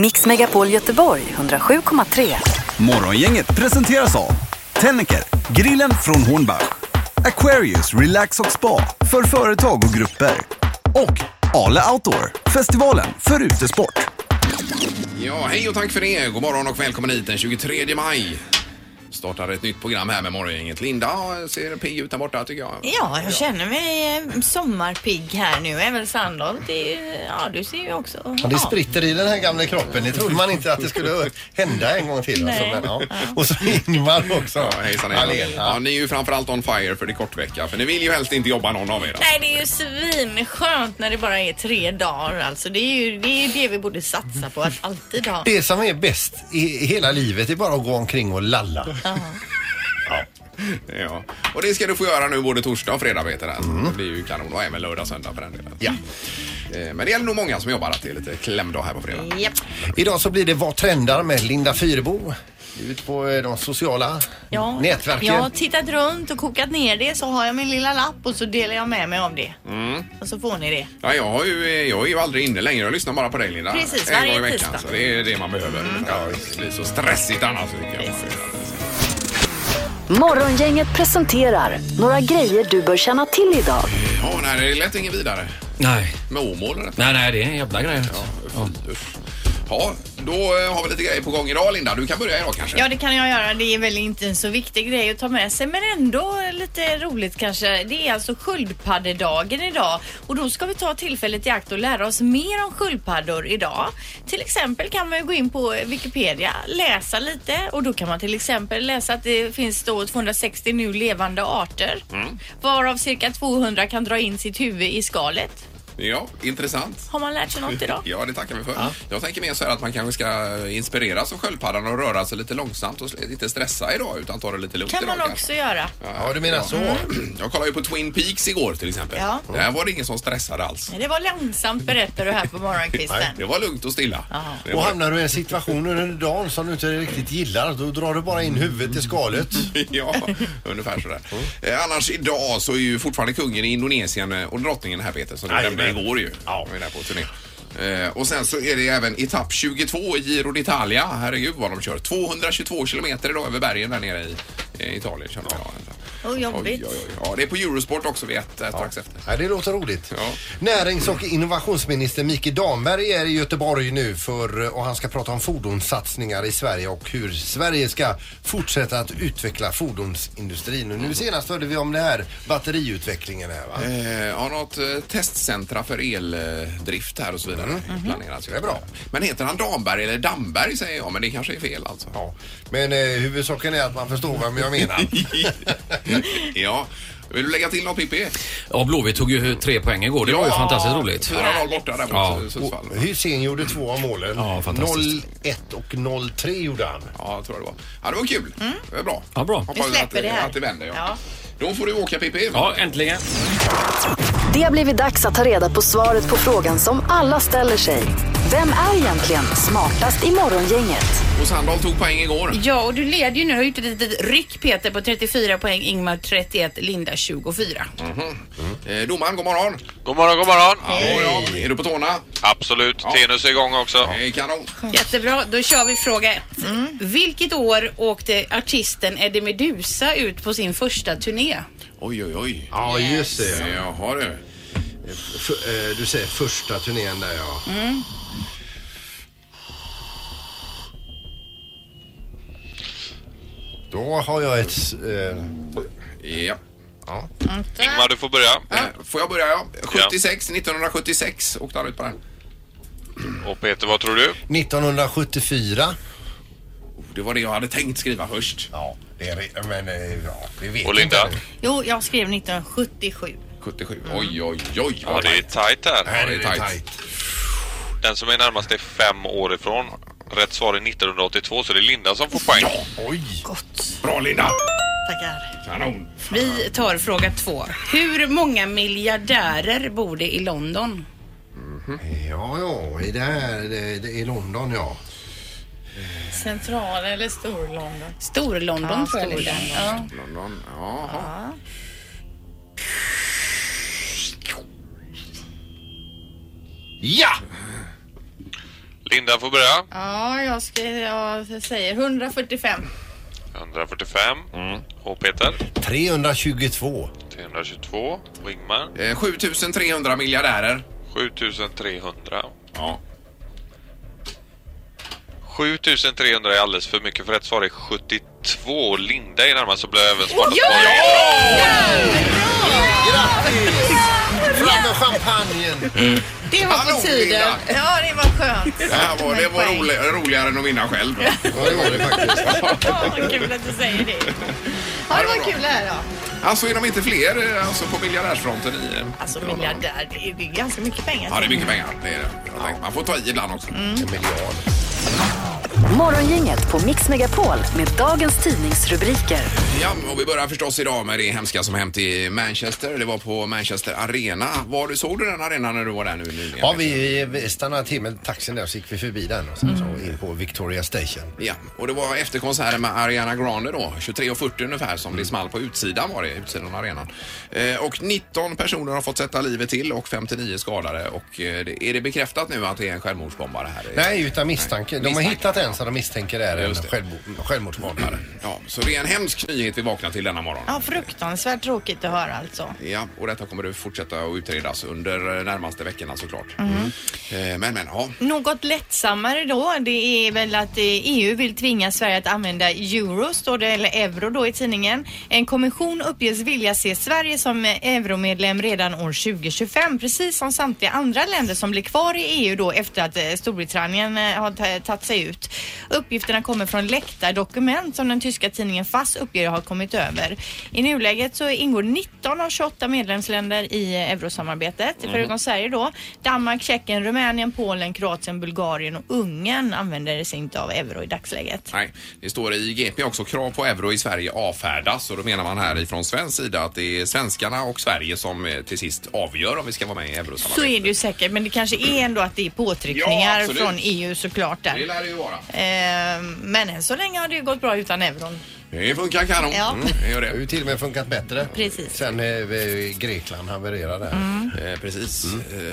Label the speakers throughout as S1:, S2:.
S1: Mix Megapol Göteborg 107,3.
S2: Morgongänget presenteras av Tennecker, grillen från Hornbach, Aquarius Relax och Spa för företag och grupper och Ale Outdoor, festivalen för utesport.
S3: Ja, hej och tack för det. God morgon och välkommen hit den 23 maj. Startar ett nytt program här med Morgongänget. Linda ser pigg ut där borta tycker jag.
S4: Ja, jag känner mig eh, sommarpigg här nu. Även Sandholt, det är ju- ja du ser ju också...
S5: Ja, det spritter i den här gamla kroppen. Det trodde man inte att det skulle hända en gång till. Alltså,
S4: Nej.
S5: men, ja. Och så Ingmar också.
S3: Ja, hejsan,
S5: Allén,
S3: hejsan.
S5: ja.
S3: Ja, ni är ju framförallt on fire för det är kort vecka. För ni vill ju helst inte jobba någon av er. alltså.
S4: Nej, det är ju svinskönt när det bara är tre dagar. Alltså, det är ju det, är ju det vi borde satsa på, att alltid ha.
S5: Det som är bäst i hela livet är bara att gå omkring och lalla.
S3: Ja. Och det ska du få göra nu både torsdag och fredag vet jag det.
S4: Mm.
S3: Det blir ju kanon och även lördag och söndag för den delen.
S5: Ja.
S3: Eh, Men det gäller nog många som jobbar att det är lite klämdag här på fredag.
S4: Japp.
S5: Idag så blir det Vad trendar med Linda Fyrebo. Ut på eh, de sociala
S4: Ja,
S5: nätverken.
S4: Jag har tittat runt och kokat ner det så har jag min lilla lapp och så delar jag med mig av det.
S5: Mm.
S4: Och så får ni det.
S3: Ja, jag, har ju, jag är ju aldrig inne längre. Jag lyssnar bara på dig Linda.
S4: Precis,
S3: en gång i
S4: varje
S3: veckan.
S4: tisdag. Mm.
S3: Så det är det man behöver. Ja, det blir så stressigt annars tycker jag.
S1: Morgongänget presenterar några grejer du bör känna till idag.
S3: Ja, nej, det lät inget vidare.
S6: Nej.
S3: Med Åmål eller?
S6: Nej, nej, det är en jävla grej. Ja.
S3: Usch. Ja, då eh, har vi lite grejer på gång idag Linda. Du kan börja idag kanske.
S4: Ja, det kan jag göra. Det är väl inte en så viktig grej att ta med sig, men ändå lite roligt kanske. Det är alltså sköldpaddedagen idag och då ska vi ta tillfället i akt och lära oss mer om sköldpaddor idag. Till exempel kan man ju gå in på Wikipedia, läsa lite och då kan man till exempel läsa att det finns då 260 nu levande arter, varav cirka 200 kan dra in sitt huvud i skalet.
S3: Ja, intressant.
S4: Har man lärt sig något idag?
S3: Ja, det tackar vi för. Jag tänker mer så här att man kanske ska inspireras av sköldpaddan och röra sig lite långsamt och sl- inte stressa idag utan ta det lite lugnt
S4: Kan
S3: idag
S4: man också göra.
S5: Ja, du menar så.
S4: Mm.
S3: kanske. Jag kollade ju på Twin Peaks igår till exempel.
S4: Ja.
S3: Där var det ingen som stressade alls.
S4: Det var långsamt berättar du här på morgonkvisten.
S3: Det var lugnt och stilla. Det
S5: Och
S3: var-
S5: hamnar du i en situation under dagen som du inte riktigt gillar, då drar du bara in huvudet i skalet.
S3: Ja, ungefär sådär.
S5: Mm.
S3: Eh, Annars idag så är ju fortfarande kungen i Indonesien eh, och drottningen här Peter som du nämnde igår ju. Ja. Vi är där på turné. Eh, och sen så är det även etapp 22 i Giro d'Italia. Herregud vad de kör. 222 kilometer idag över bergen där nere i eh, Italien. Kör ja.
S4: Och jobbigt.
S3: Oj, oj, oj. Ja, det är på Eurosport också vid ett eh, strax efter.
S5: Ja, det låter roligt.
S3: Ja.
S5: Närings och innovationsminister Mikael Damberg är i Göteborg nu för, och han ska prata om fordonssatsningar i Sverige och hur Sverige ska fortsätta att utveckla fordonsindustrin. Och nu senast hörde vi om det här batteriutvecklingen här va?
S3: Eh, har något eh, testcentra för eldrift här och så vidare planeras ju.
S5: Mm. Det är bra.
S3: Men heter han Damberg eller Damberg säger jag, men det kanske är fel alltså.
S5: Ja. Men eh, huvudsaken är att man förstår vad jag menar.
S3: ja. Vill du lägga till något Pippi?
S6: ja, Blåvitt tog ju tre poäng igår. Det var ju
S3: Ja.
S6: fantastiskt roligt.
S3: 4-0 borta där mot
S6: Ja.
S3: Sundsvall.
S5: Och Hysén gjorde två av målen.
S6: Ja, fantastiskt.
S5: 0-1 och 0-3 gjorde han.
S3: Ja, jag tror det var. Ja, det var kul. Det var bra.
S6: Ja, bra.
S3: Hoppas
S4: Mm. Vi släpper
S3: att det,
S4: det här.
S3: Att det vänder, ja.
S4: Ja.
S3: Då får du åka Pippi.
S6: Ja, äntligen.
S1: Det har blivit dags att ta reda på svaret på frågan som alla ställer sig. Vem är egentligen smartast i morgongänget?
S3: Och Sandahl tog poäng igår.
S7: Ja, och du leder ju nu. Har gjort ett litet ryck Peter på 34 poäng, Ingmar 31, Linda 24.
S3: Eh, domaren, god morgon.
S8: God morgon, god morgon.
S3: Hej. Ja, är du på tårna?
S8: Absolut. Tenus är igång också.
S3: Hej, kanon.
S7: Jättebra, då kör vi fråga ett.
S4: Mm.
S7: Vilket år åkte artisten Eddie Meduza ut på sin första turné?
S3: Oj, oj, oj.
S5: Ja, just det.
S3: Jaha du.
S5: F- eh, du säger första turnén där ja. Då har jag ett... s- Eh,
S3: Ja.
S8: Ingmar, du får börja.
S3: Eh, Får jag börja? Ja. 76, 1976 åkte han ut på den.
S8: Och Peter, vad tror du?
S5: 1974.
S3: Oh, Det var det jag hade tänkt skriva först.
S5: Ja, det är re- men eh, ja, vi vet
S8: Och Linda?
S5: inte.
S4: Jo, jag skrev 1977.
S3: 77. Oj, oj, oj.
S8: Ja, det är tajt här.
S5: Här är det
S3: tajt.
S5: tajt.
S8: Den som är närmast är fem år ifrån. Rätt svar är 1982, så det är Linda som får poäng.
S5: Oj!
S3: Bra Linda.
S4: Tackar.
S3: Kanon.
S7: Vi tar fråga två. Hur många miljardärer bor det i London?
S5: Ja, ja, i det här det, det, i London ja.
S4: Central eller Storlondon?
S7: Stor-London
S4: Ja,
S7: tror jag Linda. Ja.
S3: London. Jaha.
S5: Ja!
S8: Linda får börja.
S4: Ja, jag, ska, jag säger 145.
S8: 145.
S5: Mm.
S8: Och Peter.
S5: 322.
S8: 322. Och Ingmar.
S3: Eh, 7300 miljardärer.
S8: 7300.
S3: Ja.
S8: 7300 är alldeles för mycket för rätt svar är 72. Linda är närmast och blir även
S4: Ja!
S8: smartast svaret.
S5: Grattis! Fram med champagnen!
S9: Det var
S3: Hallå,
S9: på tiden.
S3: Linda!
S4: Ja, det var skönt.
S3: Det här var, det var
S4: Poäng.
S3: rolig, roligare än att vinna själv.
S5: Ja, det var det faktiskt.
S4: Ja, vad kul att du säger det. Ja, det var kul det här då.
S3: Alltså är de inte fler eh, alltså, på miljardärsfronten i... eh,
S4: Alltså
S3: London?
S4: miljardär, det är ju ganska mycket pengar.
S3: Ja, det är mycket pengar. Det är det. Jag tänkte, Man får ta i ibland också.
S5: En miljard.
S1: Morgongänget på Mix Megapol med dagens tidningsrubriker.
S3: Ja, och vi börjar förstås idag med det hemska som hänt i Manchester. Det var på Manchester Arena. Var du, såg du den arenan när du var där nu nyligen?
S5: Ja, vi, vi stannade till med taxin där och så gick vi förbi den och sen så in på Victoria Station.
S3: Ja, och det var efter konserten med Ariana Grande då, 23.40 ungefär som det small på utsidan var det, utsidan av arenan. Eh, och 19 personer har fått sätta livet till och 59 skadade och eh, det, är det bekräftat nu att det är en självmordsbombare här? i-
S5: Nej, utan misstanke. De har
S3: Misstanke.
S5: hittat en som de misstänker är en
S3: Just det.
S5: självmo- självmordsmanare.
S3: Ja, så det är en hemsk nyhet vi vaknar till denna morgon.
S4: Ja, fruktansvärt tråkigt att höra alltså.
S3: Ja, och detta kommer att fortsätta att utredas under eh, närmaste veckorna såklart. Eh, men, men, ja.
S4: Något lättsammare då, det är väl att eh, EU vill tvinga Sverige att använda euro, står det, eller euro då i tidningen. En kommission uppges vilja se Sverige som eh, euromedlem redan år 2025, precis som samtliga andra länder som blir kvar i EU då efter att eh, Storbritannien eh, har ta- tagit sig ut. Uppgifterna kommer från läckta dokument som den tyska tidningen FAS uppger har kommit över. I nuläget så ingår 19 av 28 medlemsländer i eh, eurosamarbetet,
S3: Mhm.
S4: förutom Sverige då. Danmark, Tjeckien, Rumänien, Polen, Kroatien, Bulgarien och Ungern använder sig inte av euro i dagsläget.
S3: Nej, det står i GP också krav på euro i Sverige avfärdas och då menar man här ifrån svensk sida att det är svenskarna och Sverige som eh, till sist avgör om vi ska vara med i eurosamarbetet.
S4: Så är det ju säkert, men det kanske är ändå att det är påtryckningar
S3: Ja, absolut.
S4: från EU såklart där.
S3: Det lär det ju vara.
S4: Ehm, Men än så länge har det ju gått bra utan euron.
S3: Det funkar kanon.
S4: Ja.
S3: Mm, det gör
S5: Det har
S3: det.
S5: ju till och med funkat bättre.
S4: Precis.
S5: Sen eh, vi- Grekland havererade där.
S3: Eh, precis. Eh,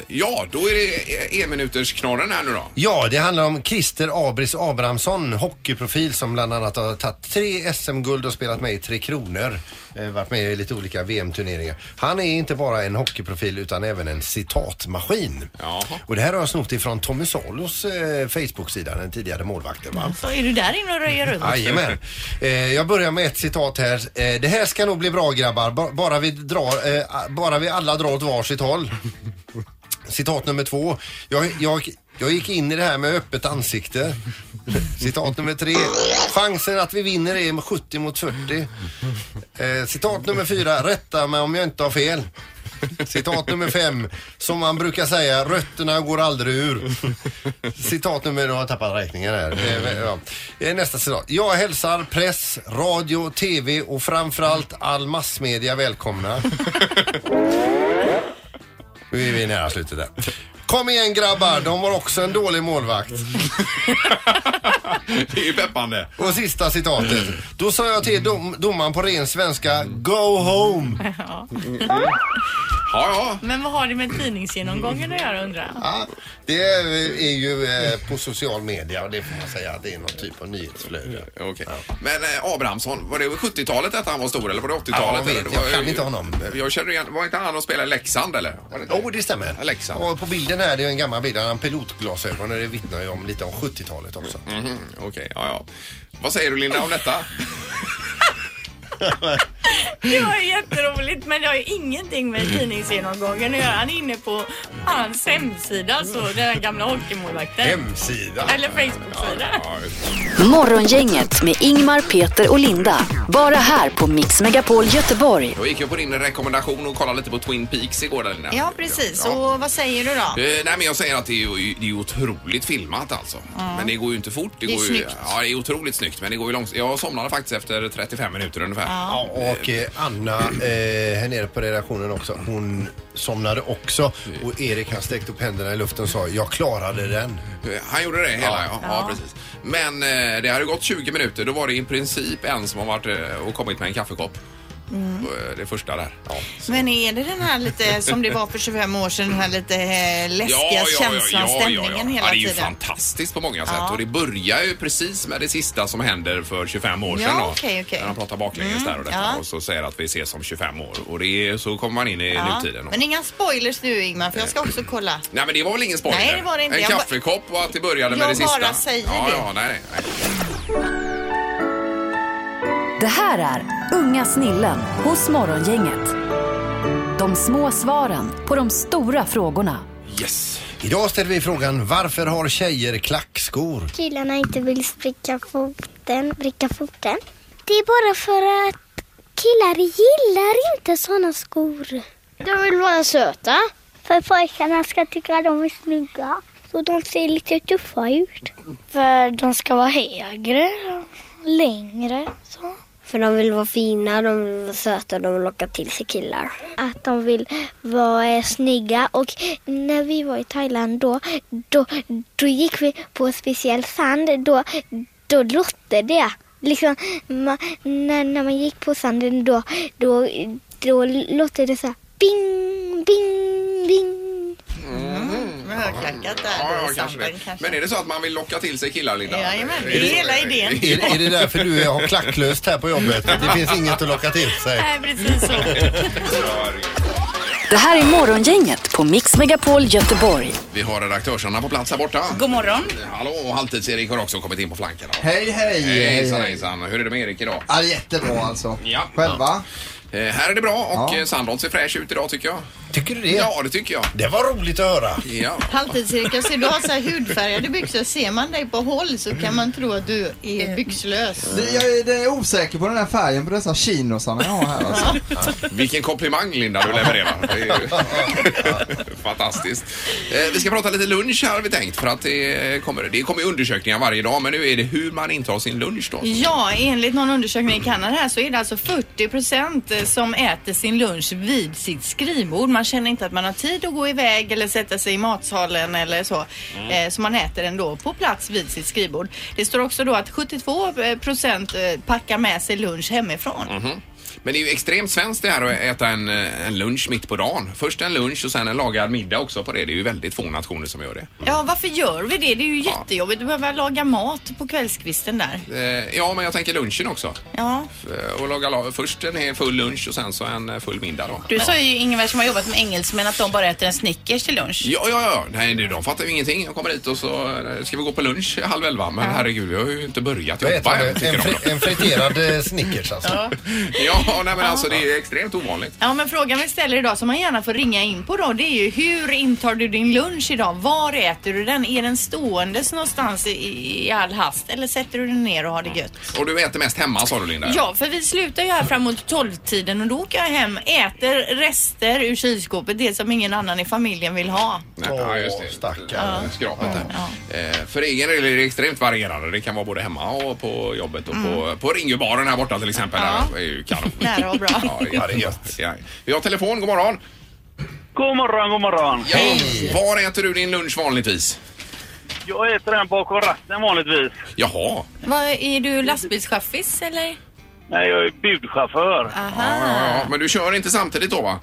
S3: ja, då är det eh, enminutersknorren här nu då.
S5: Ja, det handlar om Christer Abris Abrahamsson, hockeyprofil som bland annat har tagit tre SM-guld och spelat med i Tre Kronor. Eh, varit med i lite olika VM-turneringar. Han är inte bara en hockeyprofil utan även en citatmaskin.
S3: Jaha.
S5: Och det här har jag snott ifrån Tommy Salos eh, Facebook-sida, den tidigare målvakten. Va?
S4: Så är du där inne och röjer runt?
S5: Jajamän. Eh, jag börjar med ett citat här. Eh, det här ska nog bli bra grabbar, ba- bara vi, drar, eh, bara vi alla drar åt varsitt håll. Citat nummer två. Jag, jag, jag gick in i det här med öppet ansikte. Citat nummer tre. Chansen att vi vinner är med 70 mot 40. Eh, citat nummer fyra. Rätta mig om jag inte har fel. Citat nummer fem. Som man brukar säga, rötterna går aldrig ur. Citat nummer, jag har tappat räkningen här.
S3: Mm.
S5: Eh, ja. Eh, Nästa citat. Jag hälsar press, radio, tv och framförallt all massmedia välkomna. Nu är vi nära slutet där. Kom igen grabbar, de var också en dålig målvakt.
S3: Det är ju peppande.
S5: Och sista citatet. Då sa jag till dom, domaren på ren svenska, go home.
S3: Ja, ja.
S4: Men vad har det med tidningsgenomgången att göra undrar jag?
S5: Ja, det är, är ju eh, på social media och det får man säga att det är någon typ av nyhetsflöde.
S3: Okej. Men eh, Abrahamsson, var det 70-talet att han var stor eller var det 80-talet?
S5: Ja, jag vet.
S3: Eller det var-
S5: Jag kan inte honom.
S3: Jag känner igen, var inte han och spelade i Leksand eller? Var det inte?
S5: Jo, det stämmer.
S3: Leksand.
S5: Och på bilden här, det är en gammal bild, han har pilotglasögon och det vittnar ju om lite om 70-talet också.
S3: Mhm, Okej, ja, ja. Vad säger du Linda om detta?
S4: Det var ju jätteroligt men det har ju ingenting med tidningsgenomgången att göra. Han är inne på hans hemsida, så den här gamla hockeymålvakten.
S5: Hemsida.
S4: Eller Facebook-sida.
S3: Ja,
S1: Morgongänget med Ingmar, Peter och Linda. Bara här på Mix Megapol Göteborg.
S3: jag gick ju på din rekommendation och kollade lite på Twin Peaks igår där Linda.
S4: Ja precis,
S3: Ja.
S4: och vad säger du då?
S3: Eh, nej men jag säger att det är, ju- det är otroligt filmat alltså. Men det går ju inte fort.
S4: Det är
S3: går ju,
S4: snyggt.
S3: Ja, det är otroligt snyggt. Men det går ju långsamt. Jag somnade faktiskt efter 35 minuter ungefär.
S5: Ja, och eh, Anna eh, här nere på redaktionen också, hon somnade också. Och Erik han sträckte upp händerna i luften och sa jag klarade den.
S3: Eh, Han gjorde det hela, ja. Ja, precis. Men eh, det hade gått 20 minuter. Då var det i princip en som har varit eh, och kommit med en kaffekopp.
S4: Mm.
S3: Eh, Det första där. Ja.
S10: Men är det den här lite som det var för 25 år sedan, den här lite eh, läskiga känslan, stämningen hela
S3: ja, Det är ju
S10: tiden?
S3: fantastiskt på många sätt
S10: Ja.
S3: och det börjar ju precis med det sista som händer för 25 år
S10: Ja,
S3: sedan. då.
S10: okej, okej. Mm,
S3: När de pratar baklänges där och detta
S10: ja.
S3: och så säger att vi ses om 25 år och det är, så kommer man in i
S10: Ja.
S3: nutiden.
S10: Men inga spoilers nu Ingmar, för jag ska också kolla.
S3: Nej men det var väl ingen spoiler?
S10: Nej, det var det inte.
S3: En
S10: Jag bara-
S3: kaffekopp och att det började med
S10: Jag
S3: det sista.
S10: bara säger
S3: ja,
S10: det.
S3: Ja, nej, nej, nej.
S1: Det här är Unga snillen hos Morgongänget. De små svaren på de stora frågorna.
S3: Yes.
S5: Idag ställer vi frågan varför har tjejer klackskor?
S11: killarna inte vill spricka foten, bricka foten. Det är bara för att killar gillar inte såna skor. De vill vara söta. För pojkarna ska tycka de är snygga. Så de ser lite tuffa ut. För eh, de ska vara högre och längre. Så. För de vill vara fina, de vill vara söta och de vill locka till sig killar. Att de vill vara eh, snygga. Och när vi var i Thailand då, då, då gick vi på speciell sand. Då, då låter det. Liksom, ma, när, när man gick på sanden då, då, då låter det så här bing, bing, bing.
S10: Med högklackat där
S3: Ja,
S10: då
S3: ja,
S10: i
S3: kanske det.
S10: sanden kanske.
S3: Men är det så att man vill locka till sig killar, Linda?
S10: Jajamän,
S3: Är
S10: det är
S3: så?
S10: hela idén.
S5: Är, är det därför du har klacklöst här på jobbet? Det finns inget att locka till sig.
S4: Nej, precis så.
S1: Det här är Morgongänget på Mix Megapol Göteborg.
S3: Vi har redaktörsarna på plats här borta.
S12: God morgon.
S3: Hallå, och halvtids-Erik har också kommit in på flankerna.
S2: Hej, hej!
S3: Hejsan, hejsan. Hur är det med Erik idag?
S2: Ja, jättebra alltså.
S3: Ja.
S2: Själva?
S3: Eh, här är det bra och
S2: Ja.
S3: ja. Sandholt ser fräsch ut idag tycker jag.
S5: Tycker du det?
S3: Ja, det tycker jag.
S5: Det var roligt att höra.
S3: Ja.
S10: Halvtidscirkel, jag ser du har så här hudfärgade byxor. Ser man dig på håll så kan man tro att du är byxlös.
S2: Det, jag är, det är osäker på den här färgen på dessa chinosarna jag har här alltså.
S3: Vilken komplimang Linda du levererar. Det är ju... Fantastiskt. Eh, vi ska prata lite lunch här har vi tänkt för att det kommer, det kommer ju undersökningar varje dag men nu är det hur man intar sin lunch då.
S12: Mm.
S4: Ja, enligt någon undersökning i Kanada här så är det alltså 40 procent som äter sin lunch vid sitt skrivbord. Man känner inte att man har tid att gå iväg eller sätta sig i matsalen eller så.
S12: Mm.
S4: Eh, Så man äter ändå på plats vid sitt skrivbord. Det står också då att 72 procent eh, packar med sig lunch hemifrån.
S12: Mhm.
S3: Men det är ju extremt svenskt det här att äta en, eh, en lunch mitt på dagen. Först en lunch och sen en lagad middag också på det. Det är ju väldigt få nationer som gör det.
S4: Ja, varför gör vi det? Det är ju jättejobbigt att behöva laga mat på kvällskvisten där.
S3: Eh, ja men jag tänker lunchen också.
S4: Ja.
S3: Eh, Och laga, la- först en hel full lunch och sen så en eh, full middag då.
S12: Du sa ju Ingvar som har jobbat med engelsmän att de bara äter en Snickers till lunch.
S3: Ja, ja, ja. Nej, nu, de fattar ju ingenting. Jag kommer hit och så eh, ska vi gå på lunch halv elva. Men herregud, vi har ju inte börjat
S5: Vad
S3: jobba
S5: äter
S3: än,
S5: du?
S3: tycker de.
S5: En, fri, en friterad eh, Snickers alltså.
S3: Ja, nej, men alltså det är extremt ovanligt.
S4: Ja, men frågan vi ställer idag som man gärna får ringa in på då det är ju hur intar du din lunch idag? Var äter du den? Är den ståendes någonstans i, i all hast eller sätter du den ner och har det gött?
S3: Och du äter mest hemma sa du Linda?
S4: Ja, för vi slutar ju här framåt 12-tiden och då åker jag hem, äter rester ur kylskåpet, det som ingen annan i familjen vill ha.
S3: Nej, ja, just det.
S5: Åh, stackare.
S3: Eh, Skrapet där. Eh, För egen del är det extremt varierande. Det kan vara både hemma och på jobbet och på, på Ringbybaren här borta till exempel.
S4: Mm. Ja.
S3: Det är ju kanon.
S4: Nära och bra.
S3: Ja, det är gött. Ja. Vi har telefon, god morgon.
S6: God morgon, god morgon.
S3: Hej! Var äter du din lunch vanligtvis?
S6: Jag äter den bakom ratten vanligtvis.
S3: Jaha.
S4: Vad, är du lastbilschaffis eller?
S6: Nej, jag är budchaufför.
S3: Ja,
S4: Aha.
S3: ja, ja. Men du kör inte samtidigt då va?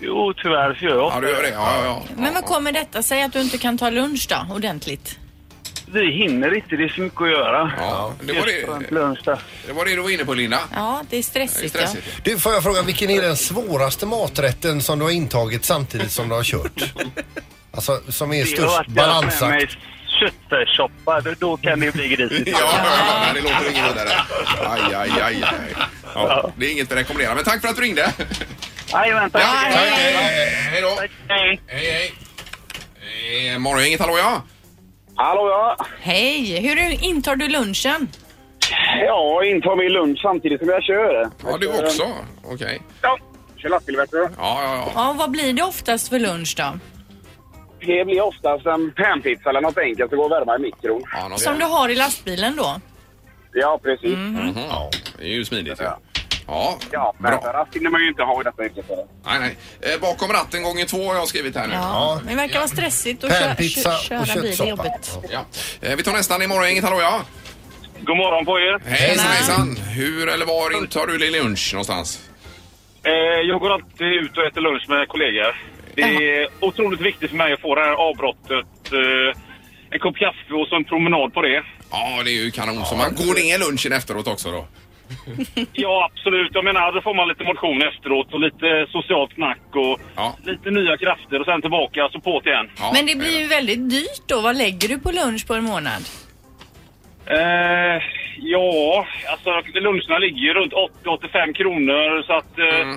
S6: Jo, tyvärr så gör jag.
S3: Ja, du gör det. Ja, ja, ja.
S4: Men vad kommer detta sig att du inte kan ta lunch då, ordentligt?
S6: Vi hinner inte, det är så mycket att göra.
S3: Ja, det var det,
S6: Lunch där.
S3: det var det du var inne på Linda.
S4: Ja, det
S3: Det
S4: är
S3: är
S4: stressigt. ja.
S3: stressigt.
S5: Du, får jag fråga, vilken är den svåraste maträtten som du har intagit samtidigt som du har kört? Alltså, som är
S6: Det har
S5: störst
S6: varit jag med
S5: balansakt.
S6: mig köttfärssoppa, då- då kan det bli grisigt.
S3: Ja, ja, ja, det låter inget vidare. Aj, aj, aj, aj. Ja, det är inget att rekommendera. Men tack för att du ringde.
S6: Jajamän, tack.
S3: Ja, hej, hej, hej. Hej då.
S6: Tack, hej.
S3: Hej, hej. Eh, Morgongänget, hallå ja.
S6: Hallå ja.
S4: Hej! Hur intar du lunchen?
S6: Ja, intar min lunch samtidigt som jag kör.
S3: Ja, du också. Okej.
S6: Ja, kör lastbil vet du.
S3: Ja, ja, ja.
S4: Ja, vad blir det oftast för lunch då?
S6: Det blir oftast en panpizza eller något enkelt att gå och värma i mikron.
S3: ja något
S4: Som du har i lastbilen då?
S6: Ja, precis.
S3: Mhm, ja. Det är ju smidigt. Ja,
S6: Ja,
S3: ja
S6: men
S3: bra.
S6: rast hinner man ju inte ha i detta yrket.
S3: Nej, nej. Eh, Bakom ratten gånger två har jag skrivit här nu.
S4: Ja. Men det verkar vara stressigt att kö-
S5: Pärlpizza
S4: kö-
S5: och
S4: köra bil i
S5: köttsoppa.
S4: jobbet.
S3: Ja. Eh, Vi tar nästan i Morgongänget, hallå ja.
S6: God morgon på er.
S3: Hejsan hejsan! Hur eller var intar du din lunch någonstans?
S6: Eh, jag går alltid ut och äter lunch med kollegor. Det är otroligt viktigt för mig att få det här avbrottet. Eh, en kopp kaffe och så en promenad på det.
S3: Ja, det är ju kanon. Så man går ner lunchen efteråt också då?
S6: Ja, absolut. Jag menar, då får man lite motion efteråt och lite socialt snack och lite nya krafter och sen tillbaka så på igen.
S13: Men det blir ju väldigt dyrt då. Vad lägger du på lunch på en månad?
S6: Eh, ja, alltså luncherna ligger ju runt 80-85 kronor så att eh,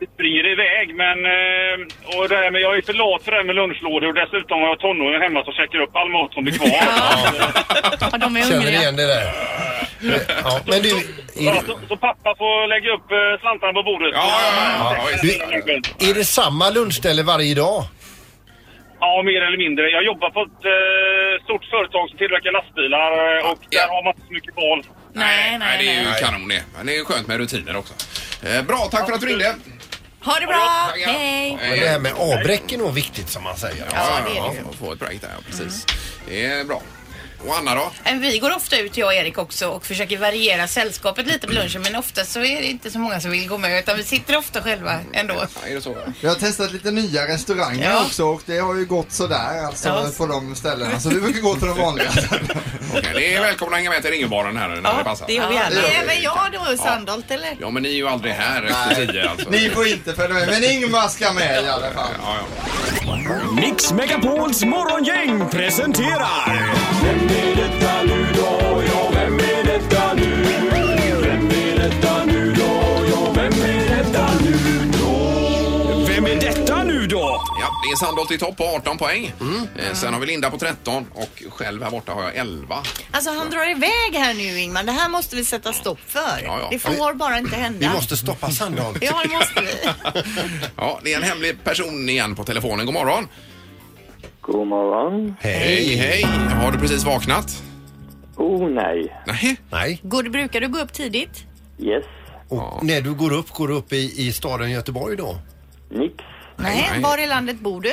S6: det springer iväg. Men eh, och det här med, jag är för lat för det här med lunchlådor och dessutom har jag tonåringar hemma som käkar upp all mat som blir kvar.
S13: Ja, de är
S5: Känner
S13: hungriga.
S5: igen det där. Ja, men du,
S6: Ja, så, så pappa får lägga upp eh, slantarna på bordet. Ja,
S5: du, är det samma lunchställe varje dag?
S6: Ja, mer eller mindre. Jag jobbar på ett eh, stort företag som tillverkar lastbilar eh, och där har man inte så mycket val.
S13: Nej,
S3: nej, det är ju kanon det. Men det är skönt med rutiner också. Eh, bra, tack för att du ringde.
S13: Ha det bra! Hej!
S5: Men det här med avbräck är nog viktigt som man säger.
S3: Ja, ja, ja, få ett break där, ja, precis. Det är bra. Och Anna då?
S7: Men Vi går ofta ut, jag och Erik också, och försöker variera sällskapet lite på lunchen. Men oftast så är det inte så många som vill gå med, utan vi sitter ofta själva ändå.
S3: Är det så?
S14: Jag har testat lite nya restauranger
S7: Ja.
S14: också och det har ju gått sådär alltså
S7: Ja.
S14: på de ställena. Så vi brukar gå till de vanliga.
S3: Okej, det är välkomna att hänga med till ringbaren här när det passar.
S13: Även jag då, Sandholt eller?
S3: Ja, men ni är ju aldrig här efter tio alltså.
S14: Ni får inte följa med, men Ingmar ska med i alla fall.
S3: Ja,
S15: Mix Megapols morgongäng presenterar... Vem är detta nu då? Ja, vem är detta nu? Vem är detta nu då? Ja, vem är detta nu då? Vem är detta nu då?
S3: Ja, det är Sandholt i topp på 18 poäng. Eh, sen har vi Linda på 13 och själv här borta har jag 11.
S4: Alltså han drar iväg här nu Ingmar. Det här måste vi sätta stopp för.
S3: Ja, ja.
S4: Det får bara inte hända.
S5: stoppa Sandholt.
S4: Ja, det måste vi.
S3: Ja, det är en hemlig person igen på telefonen. God morgon.
S11: God morgon.
S3: Hej, hej. Har du precis vaknat?
S11: Oh nej.
S3: Nej.
S5: Nej.
S13: Går, du- brukar du gå upp tidigt?
S11: Yes.
S5: Och när du går upp, går du upp i, i staden Göteborg då?
S11: Nix.
S13: Nej,
S5: Nej.
S13: var i landet bor du?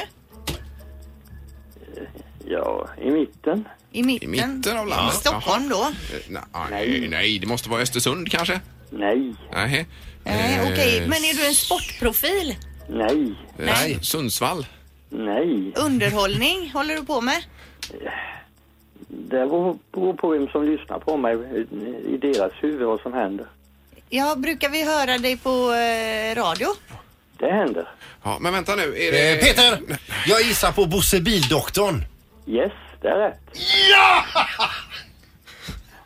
S11: Ja, i mitten.
S13: I mitten?
S3: Mitten av landet.
S4: Stockholm då?
S3: Eh, Nej, nej, det måste vara Östersund kanske?
S11: Nej.
S3: Nej.
S13: Nej,
S3: Eh,
S13: Okej, men är du en sportprofil?
S11: Nej.
S3: Nej. Eh, Sundsvall?
S11: Nej.
S4: Underhållning håller du på med?
S11: Det beror- beror på vem som lyssnar på mig i deras huvud vad som händer.
S4: Ja, brukar vi höra dig på eh, radio?
S11: Det händer.
S3: Ja, men vänta nu. Är
S5: Eh, Peter! Jag gissar på Bosse Bildoktorn.
S11: Yes, det är rätt.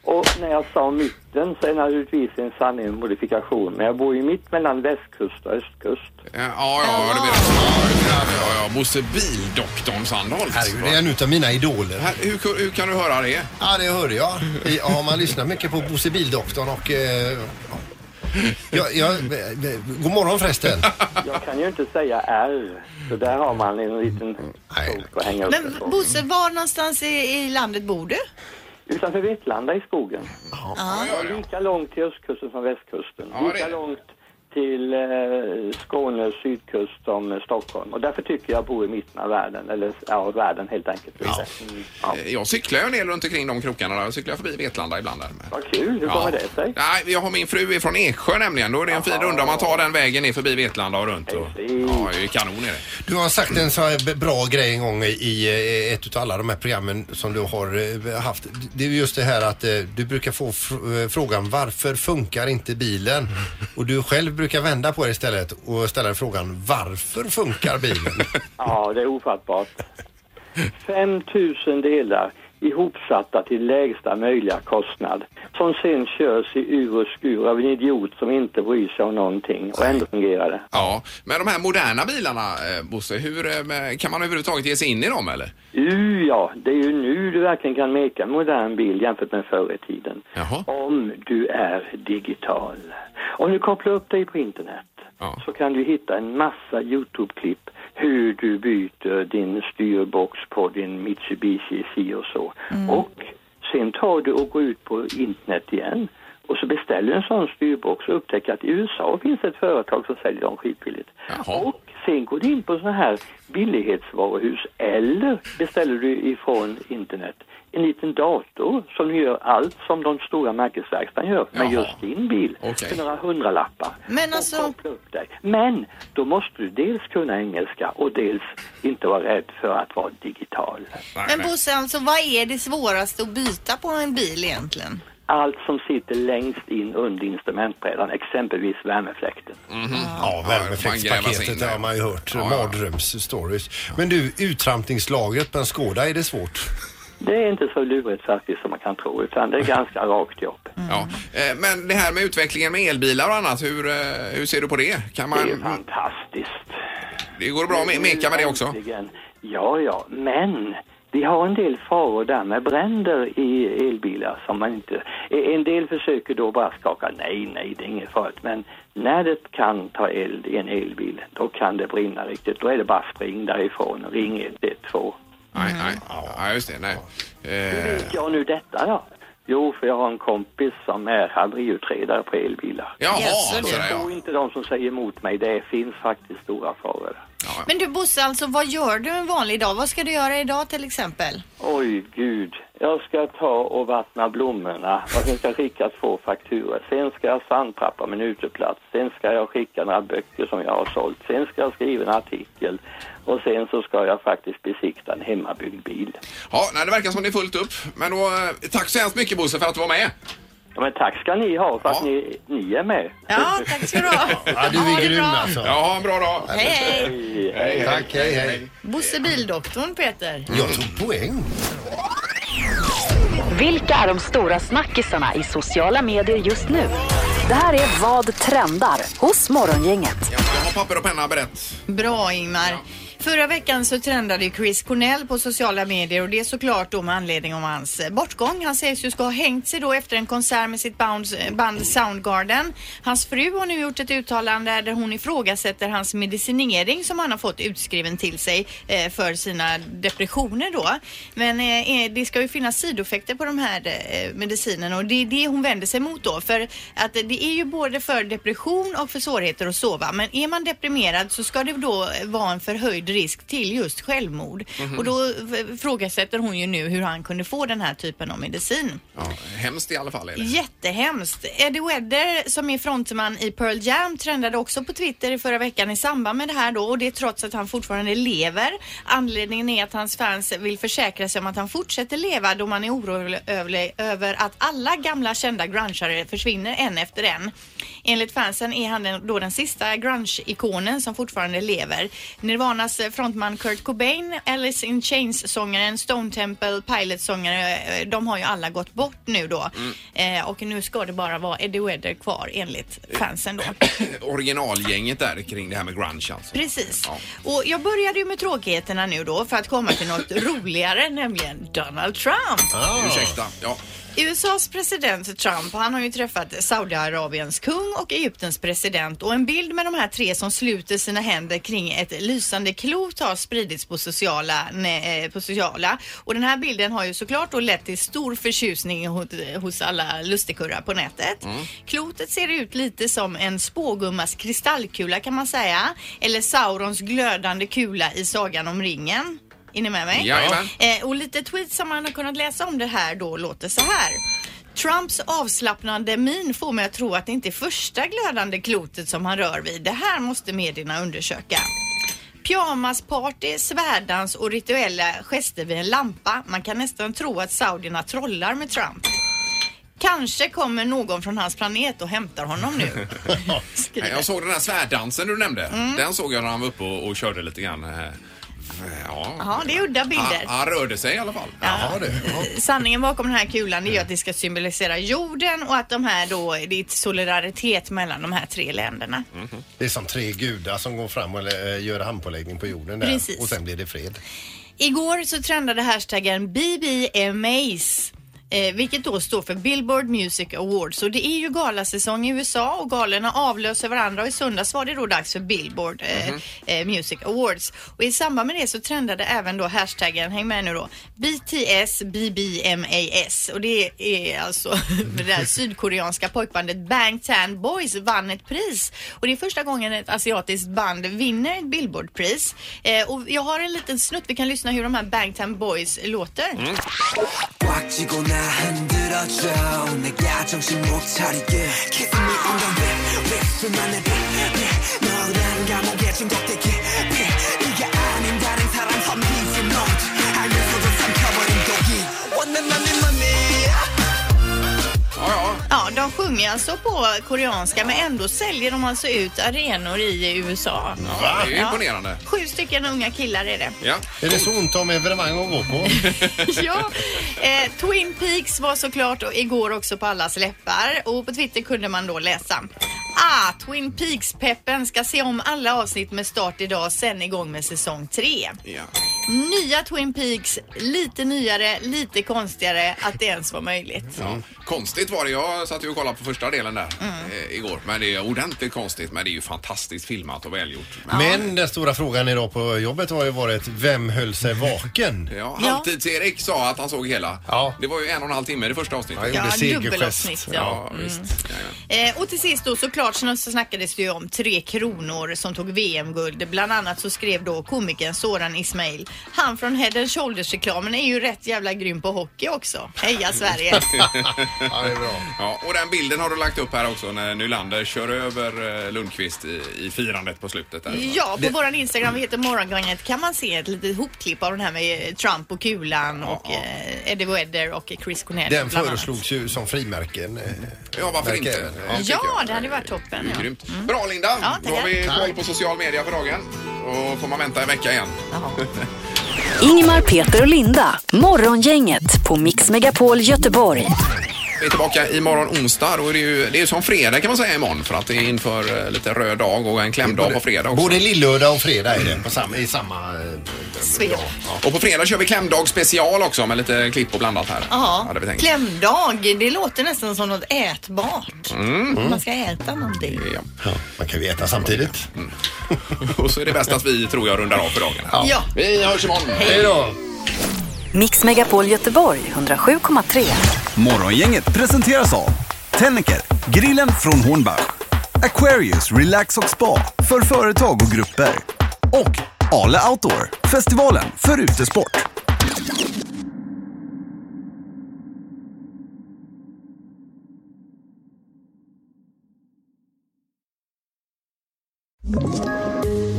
S11: Och när jag sa mitten så är det naturligtvis en sanning med modifikation. Men jag bor ju mitt mellan västkust och östkust.
S3: Eh, Ja, ja, ja, det menar jag. Ja, ja, ja. Bosse Bildoktorn Sandholt.
S5: Herregud, det är en utav mina idoler.
S3: Här, hur, ku- hur kan du höra det?
S5: Ja, det hörde jag. I- Ja, man lyssnar mycket på Bosse Bildoktorn och... Eh, ja, ja, eh, eh, god morgon förresten.
S11: Jag kan ju inte säga R, så där har man en liten krok att hänga upp det
S4: Men
S11: på.
S4: Bosse, var någonstans i, i landet bor du?
S11: Utanför Vetlanda i skogen.
S4: Ja.
S11: Det är lika långt till östkusten som västkusten.
S4: Ja, det är
S11: lika
S4: det.
S11: långt till eh, Skånes sydkust som eh, Stockholm. Och därför tycker jag bor i mitten av världen, eller ja, världen helt enkelt. Mm. Ja.
S3: Eh, Jag cyklar ju en del runt omkring de krokarna där. Jag cyklar förbi Vetlanda ibland. Där.
S11: Vad kul, hur kommer det sig?
S3: Nej, jag har min fru är från Eksjö nämligen. Då är det en fin runda om man tar den vägen ner förbi Vetlanda och runt. Och, ja, det är kanon är det.
S5: Du har sagt en så här b- bra grej en gång i- i eh, ett av alla de här programmen som du har eh, haft. Det är just det här att eh, du brukar få fr- eh, frågan varför funkar inte bilen? Och du själv brukar vända på det istället och ställa frågan varför funkar bilen?
S11: Ja, det är ofattbart. 5 000 delar ihopsatta till lägsta möjliga kostnad som sen körs i ur och skur av en idiot som inte bryr sig om någonting och ändå fungerar det.
S3: Ja, men de här moderna bilarna, eh, Bosse, hur, eh, kan man överhuvudtaget ge sig in i dem eller?
S11: Uh, ja, det är ju nu du verkligen kan meka en modern bil jämfört med förr i tiden. Om du är digital. Om du kopplar upp dig på internet så kan du hitta en massa Youtube-klipp hur du byter din styrbox på din Mitsubishi si och så. Och sen tar du och går ut på internet igen och så beställer du en sån styrbox och upptäcker att i USA finns ett företag som säljer dem skitbilligt. Och sen går du in på såna här billighetsvaruhus eller beställer du ifrån internet en liten dator som gör allt som de stora märkesverkstaden gör med just din bil för några hundralappar.
S4: Men alltså,
S11: dig. Men då måste du dels kunna engelska och dels inte vara rädd för att vara digital.
S4: men Bosse, alltså, vad är det svåraste att byta på en bil egentligen?
S11: Allt som sitter längst in under instrumentbrädan, exempelvis värmefläkten.
S5: Ja, värmefläktspaketet det har man ju hört. Mardrömsstories. Men du, uttrampningslaget på en Skoda, är det svårt?
S11: Det är inte så lurigt faktiskt som man kan tro, utan det är ganska rakt jobb.
S3: Ja. Eh, Men det här med utvecklingen med elbilar och annat, hur, eh, hur ser du på det? Kan man... Det är
S4: Mm.
S11: fantastiskt.
S3: Det går bra att meka med det också?
S11: Äntligen. Ja, ja, men vi har en del faror där med bränder i elbilar som man inte... E-, En del försöker då bara skaka, nej, nej, det är inget farligt. Men när det kan ta eld i en elbil, då kan det brinna riktigt. Då är det bara spring därifrån och ring 112.
S3: Nej, nej. Ja, just det. Nej.
S11: Hur
S3: Eh,
S11: vet jag nu detta då? Jo, för jag har en kompis som är haveriutredare på elbilar.
S3: Jaha,
S11: så
S3: sådär, ja.
S11: tror inte de som säger emot mig. Det finns faktiskt stora faror.
S4: Men du Bosse, alltså, vad gör du en vanlig dag? Vad ska du göra idag till exempel?
S11: Oj, gud. Jag ska ta och vattna blommorna och sen ska jag skicka två fakturor. Sen ska jag sandtrappa min uteplats. Sen ska jag skicka några böcker som jag har sålt. Sen ska jag skriva en artikel och sen så ska jag faktiskt besikta en hemmabyggd bil.
S3: Ja, nej, det verkar som det är fullt upp. Men då, eh, tack så hemskt mycket Bosse för att du var med.
S11: Ja, men tack ska ni ha för att ni, ni är med.
S4: Ja, tack ska du ha.
S5: Ja,
S4: du är grym, alltså.
S3: Ja, ha en bra dag.
S4: Hej, hej.
S3: hej.
S5: Tack, hej, hej.
S4: Bosse Bildoktorn, Peter.
S5: Jag tog poäng.
S1: Vilka är de stora snackisarna i sociala medier just nu? Det här är Vad trendar hos Morgongänget.
S3: Jag har papper och penna berett.
S4: Bra Ingmar. Förra veckan så trendade ju Chris Cornell på sociala medier och det är såklart då med anledning av hans eh, bortgång. Han sägs ju ska ha hängt sig då efter en konsert med sitt bounds- eh, band Soundgarden. Hans fru har nu gjort ett uttalande där hon ifrågasätter hans medicinering som han har fått utskriven till sig eh, för sina depressioner då. Men eh, eh, det ska ju finnas sidoeffekter på de här eh, medicinerna och det är det hon vänder sig mot då. För att eh, det är ju både för depression och för svårigheter att sova. Men är man deprimerad så ska det då vara en förhöjd risk till just självmord.
S3: Mhm.
S4: Och då eh, frågasätter hon ju nu hur han kunde få den här typen av medicin.
S3: Ja, hemskt i alla fall är det.
S4: Jättehemskt. Eddie Wedder som är frontman i Pearl Jam trendade också på Twitter i förra veckan i samband med det här då och det trots att han fortfarande lever. Anledningen är att hans fans vill försäkra sig om att han fortsätter leva då man är orolig över- över att alla gamla kända grungeare försvinner en efter en. Enligt fansen är han den- då den sista grunge-ikonen som fortfarande lever. Nirvanas eh, frontman Kurt Cobain, Alice in Chains-sångaren, Stone Temple Pilots-sångare, eh, de har ju alla gått bort nu då. Eh, och nu ska det bara vara Eddie Vedder kvar enligt fansen då.
S3: Originalgänget där kring det här med grunge alltså.
S4: Precis.
S3: Ja.
S4: Och jag började ju med tråkigheterna nu då för att komma till något roligare, nämligen Donald Trump.
S3: Ursäkta. Ja.
S4: USAs president Trump, han har ju träffat Saudiarabiens kung och Egyptens president och en bild med de här tre som sluter sina händer kring ett lysande klot har spridits på sociala, ne- eh, på sociala. och den här bilden har ju såklart då lett till stor förtjusning hos, hos alla lustigkurrar på nätet. Klotet ser ut lite som en spågummas kristallkula kan man säga eller Saurons glödande kula i Sagan om ringen. Är ni med mig?
S16: Jajamän.
S4: Eh, och lite tweets som man har kunnat läsa om det här då låter så här. Trumps avslappnande min får mig att tro att det inte är första glödande klotet som han rör vid. Det här måste medierna undersöka. Pyjamasparty, svärdans och rituella gester vid en lampa. Man kan nästan tro att saudierna trollar med Trump. Kanske kommer någon från hans planet och hämtar honom nu.
S3: Nej, Jag såg den här svärdansen du nämnde.
S4: Mm.
S3: Den såg jag när han var uppe och, och körde lite grann. eh, Ja.
S4: Ja, det är udda bilder.
S3: Han, han rörde sig i alla fall.
S4: Jaha,
S3: det.
S4: Sanningen bakom den här kulan är ju att det ska symbolisera jorden och att de här då, det är ett solidaritet mellan de här tre länderna.
S5: Det är som tre gudar som går fram och eh, gör handpåläggning på jorden där.
S4: Precis.
S5: Och sen blir det fred.
S4: Igår så trendade hashtaggen BBMAs. eh, vilket då står för Billboard Music Awards. Och det är ju galasäsong i USA och galorna avlöser varandra och i söndags var det då dags för Billboard eh, eh, Music Awards. Och i samband med det så trendade även då hashtaggen, häng med nu då, BTS BBMAS. Och det är alltså det där sydkoreanska pojkbandet Bangtan Boys vann ett pris. Och det är första gången ett asiatiskt band vinner ett Billboardpris. Eh, och jag har en liten snutt, vi kan lyssna hur de här Bangtan Boys låter.
S3: Mm.
S15: 꽉 쥐고 나 흔들어줘 내가 정신 못 차리게 Kiss me on the lip, lip 수만의 빛 너란 감옥에 중독돼 깊이 이게 아닌 다른 사람 선비지 못 알면서도 삼켜버린 독이 원한 맘이 맘이
S4: Ja, de sjunger alltså på koreanska men ändå säljer de alltså ut arenor i USA.
S3: Ja, det är ju imponerande.
S4: Sju stycken unga killar är det.
S3: Ja.
S5: Är det så ont om evenemang att gå på?
S4: ja, eh, Twin Peaks var såklart och igår också på allas läppar och på Twitter kunde man då läsa. Ah, Twin Peaks-peppen ska se om alla avsnitt med start idag, sen igång med säsong 3.
S3: Ja.
S4: Nya Twin Peaks, lite nyare, lite konstigare att det ens var möjligt.
S3: Ja. Konstigt var det. Jag satt ju och kollade på första delen där
S4: Mm.
S3: eh, igår. Men det är ordentligt konstigt. Men det är ju fantastiskt filmat och välgjort.
S5: Men den stora frågan idag på jobbet har ju varit vem höll sig vaken?
S3: Ja, Halvtids-Erik sa att han såg hela. Det var ju en och en halv timme i det första avsnittet.
S5: Ja, jag gjorde Ja, segergest. dubbelavsnitt,
S3: Ja,
S5: ja.
S4: Mm.
S3: visst. Jajamän.
S4: Eh, och till sist då såklart så snackades det ju om Tre Kronor som tog VM-guld. Bland annat så skrev då komikern Soran Ismail. Han från Head and Shoulders-reklamen är ju rätt jävla grym på hockey också. Heja Sverige!
S3: ja, det är bra. Ja, och den bilden har du lagt upp här också när Nylander kör över eh, Lundqvist i, i firandet på slutet. Där.
S4: Ja, på våran Instagram, vi heter Morgongänget, kan man se ett litet hopklipp av den här med Trump och Kulan och Eh, Eddie Vedder och Chris Cornell
S5: Den
S4: bland annat.
S5: föreslogs ju som frimärken. eh,
S3: Ja, varför
S5: märke.
S3: inte?
S4: Ja, det hade varit toppen. Ja.
S3: Grymt. Bra Linda!
S4: Ja,
S3: Då har vi
S4: tackar.
S3: koll på social media för dagen. Och får man vänta en vecka igen.
S1: Ingemar, Peter och Linda. Morgongänget på Mix Megapol Göteborg.
S3: Vi är tillbaka imorgon onsdag. Då är det, ju, det är som fredag kan man säga imorgon för att det är inför eh, lite röd dag och en klämdag på fredag också.
S5: Både lillördag och fredag är det på samma, i samma... eh,
S4: Svep.
S3: Och på fredag kör vi klämdag special också med lite klipp och blandat här.
S4: Ja,
S3: Hade vi tänkt.
S4: klämdag. Det låter nästan som något ätbart.
S3: Mm.
S4: Man ska äta någonting.
S3: Ja.
S5: Man kan ju äta samtidigt.
S3: Och så är det bäst att vi tror jag rundar av för dagen.
S1: Ja. Ja.
S3: Vi hörs imorgon.
S1: Hej då. Mix Megapol Göteborg 107,3.
S2: Morgongänget presenteras av Tennecker, grillen från Hornbach, Aquarius Relax och Spa för företag och grupper och Ale Outdoor, festivalen för utesport.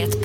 S16: Ett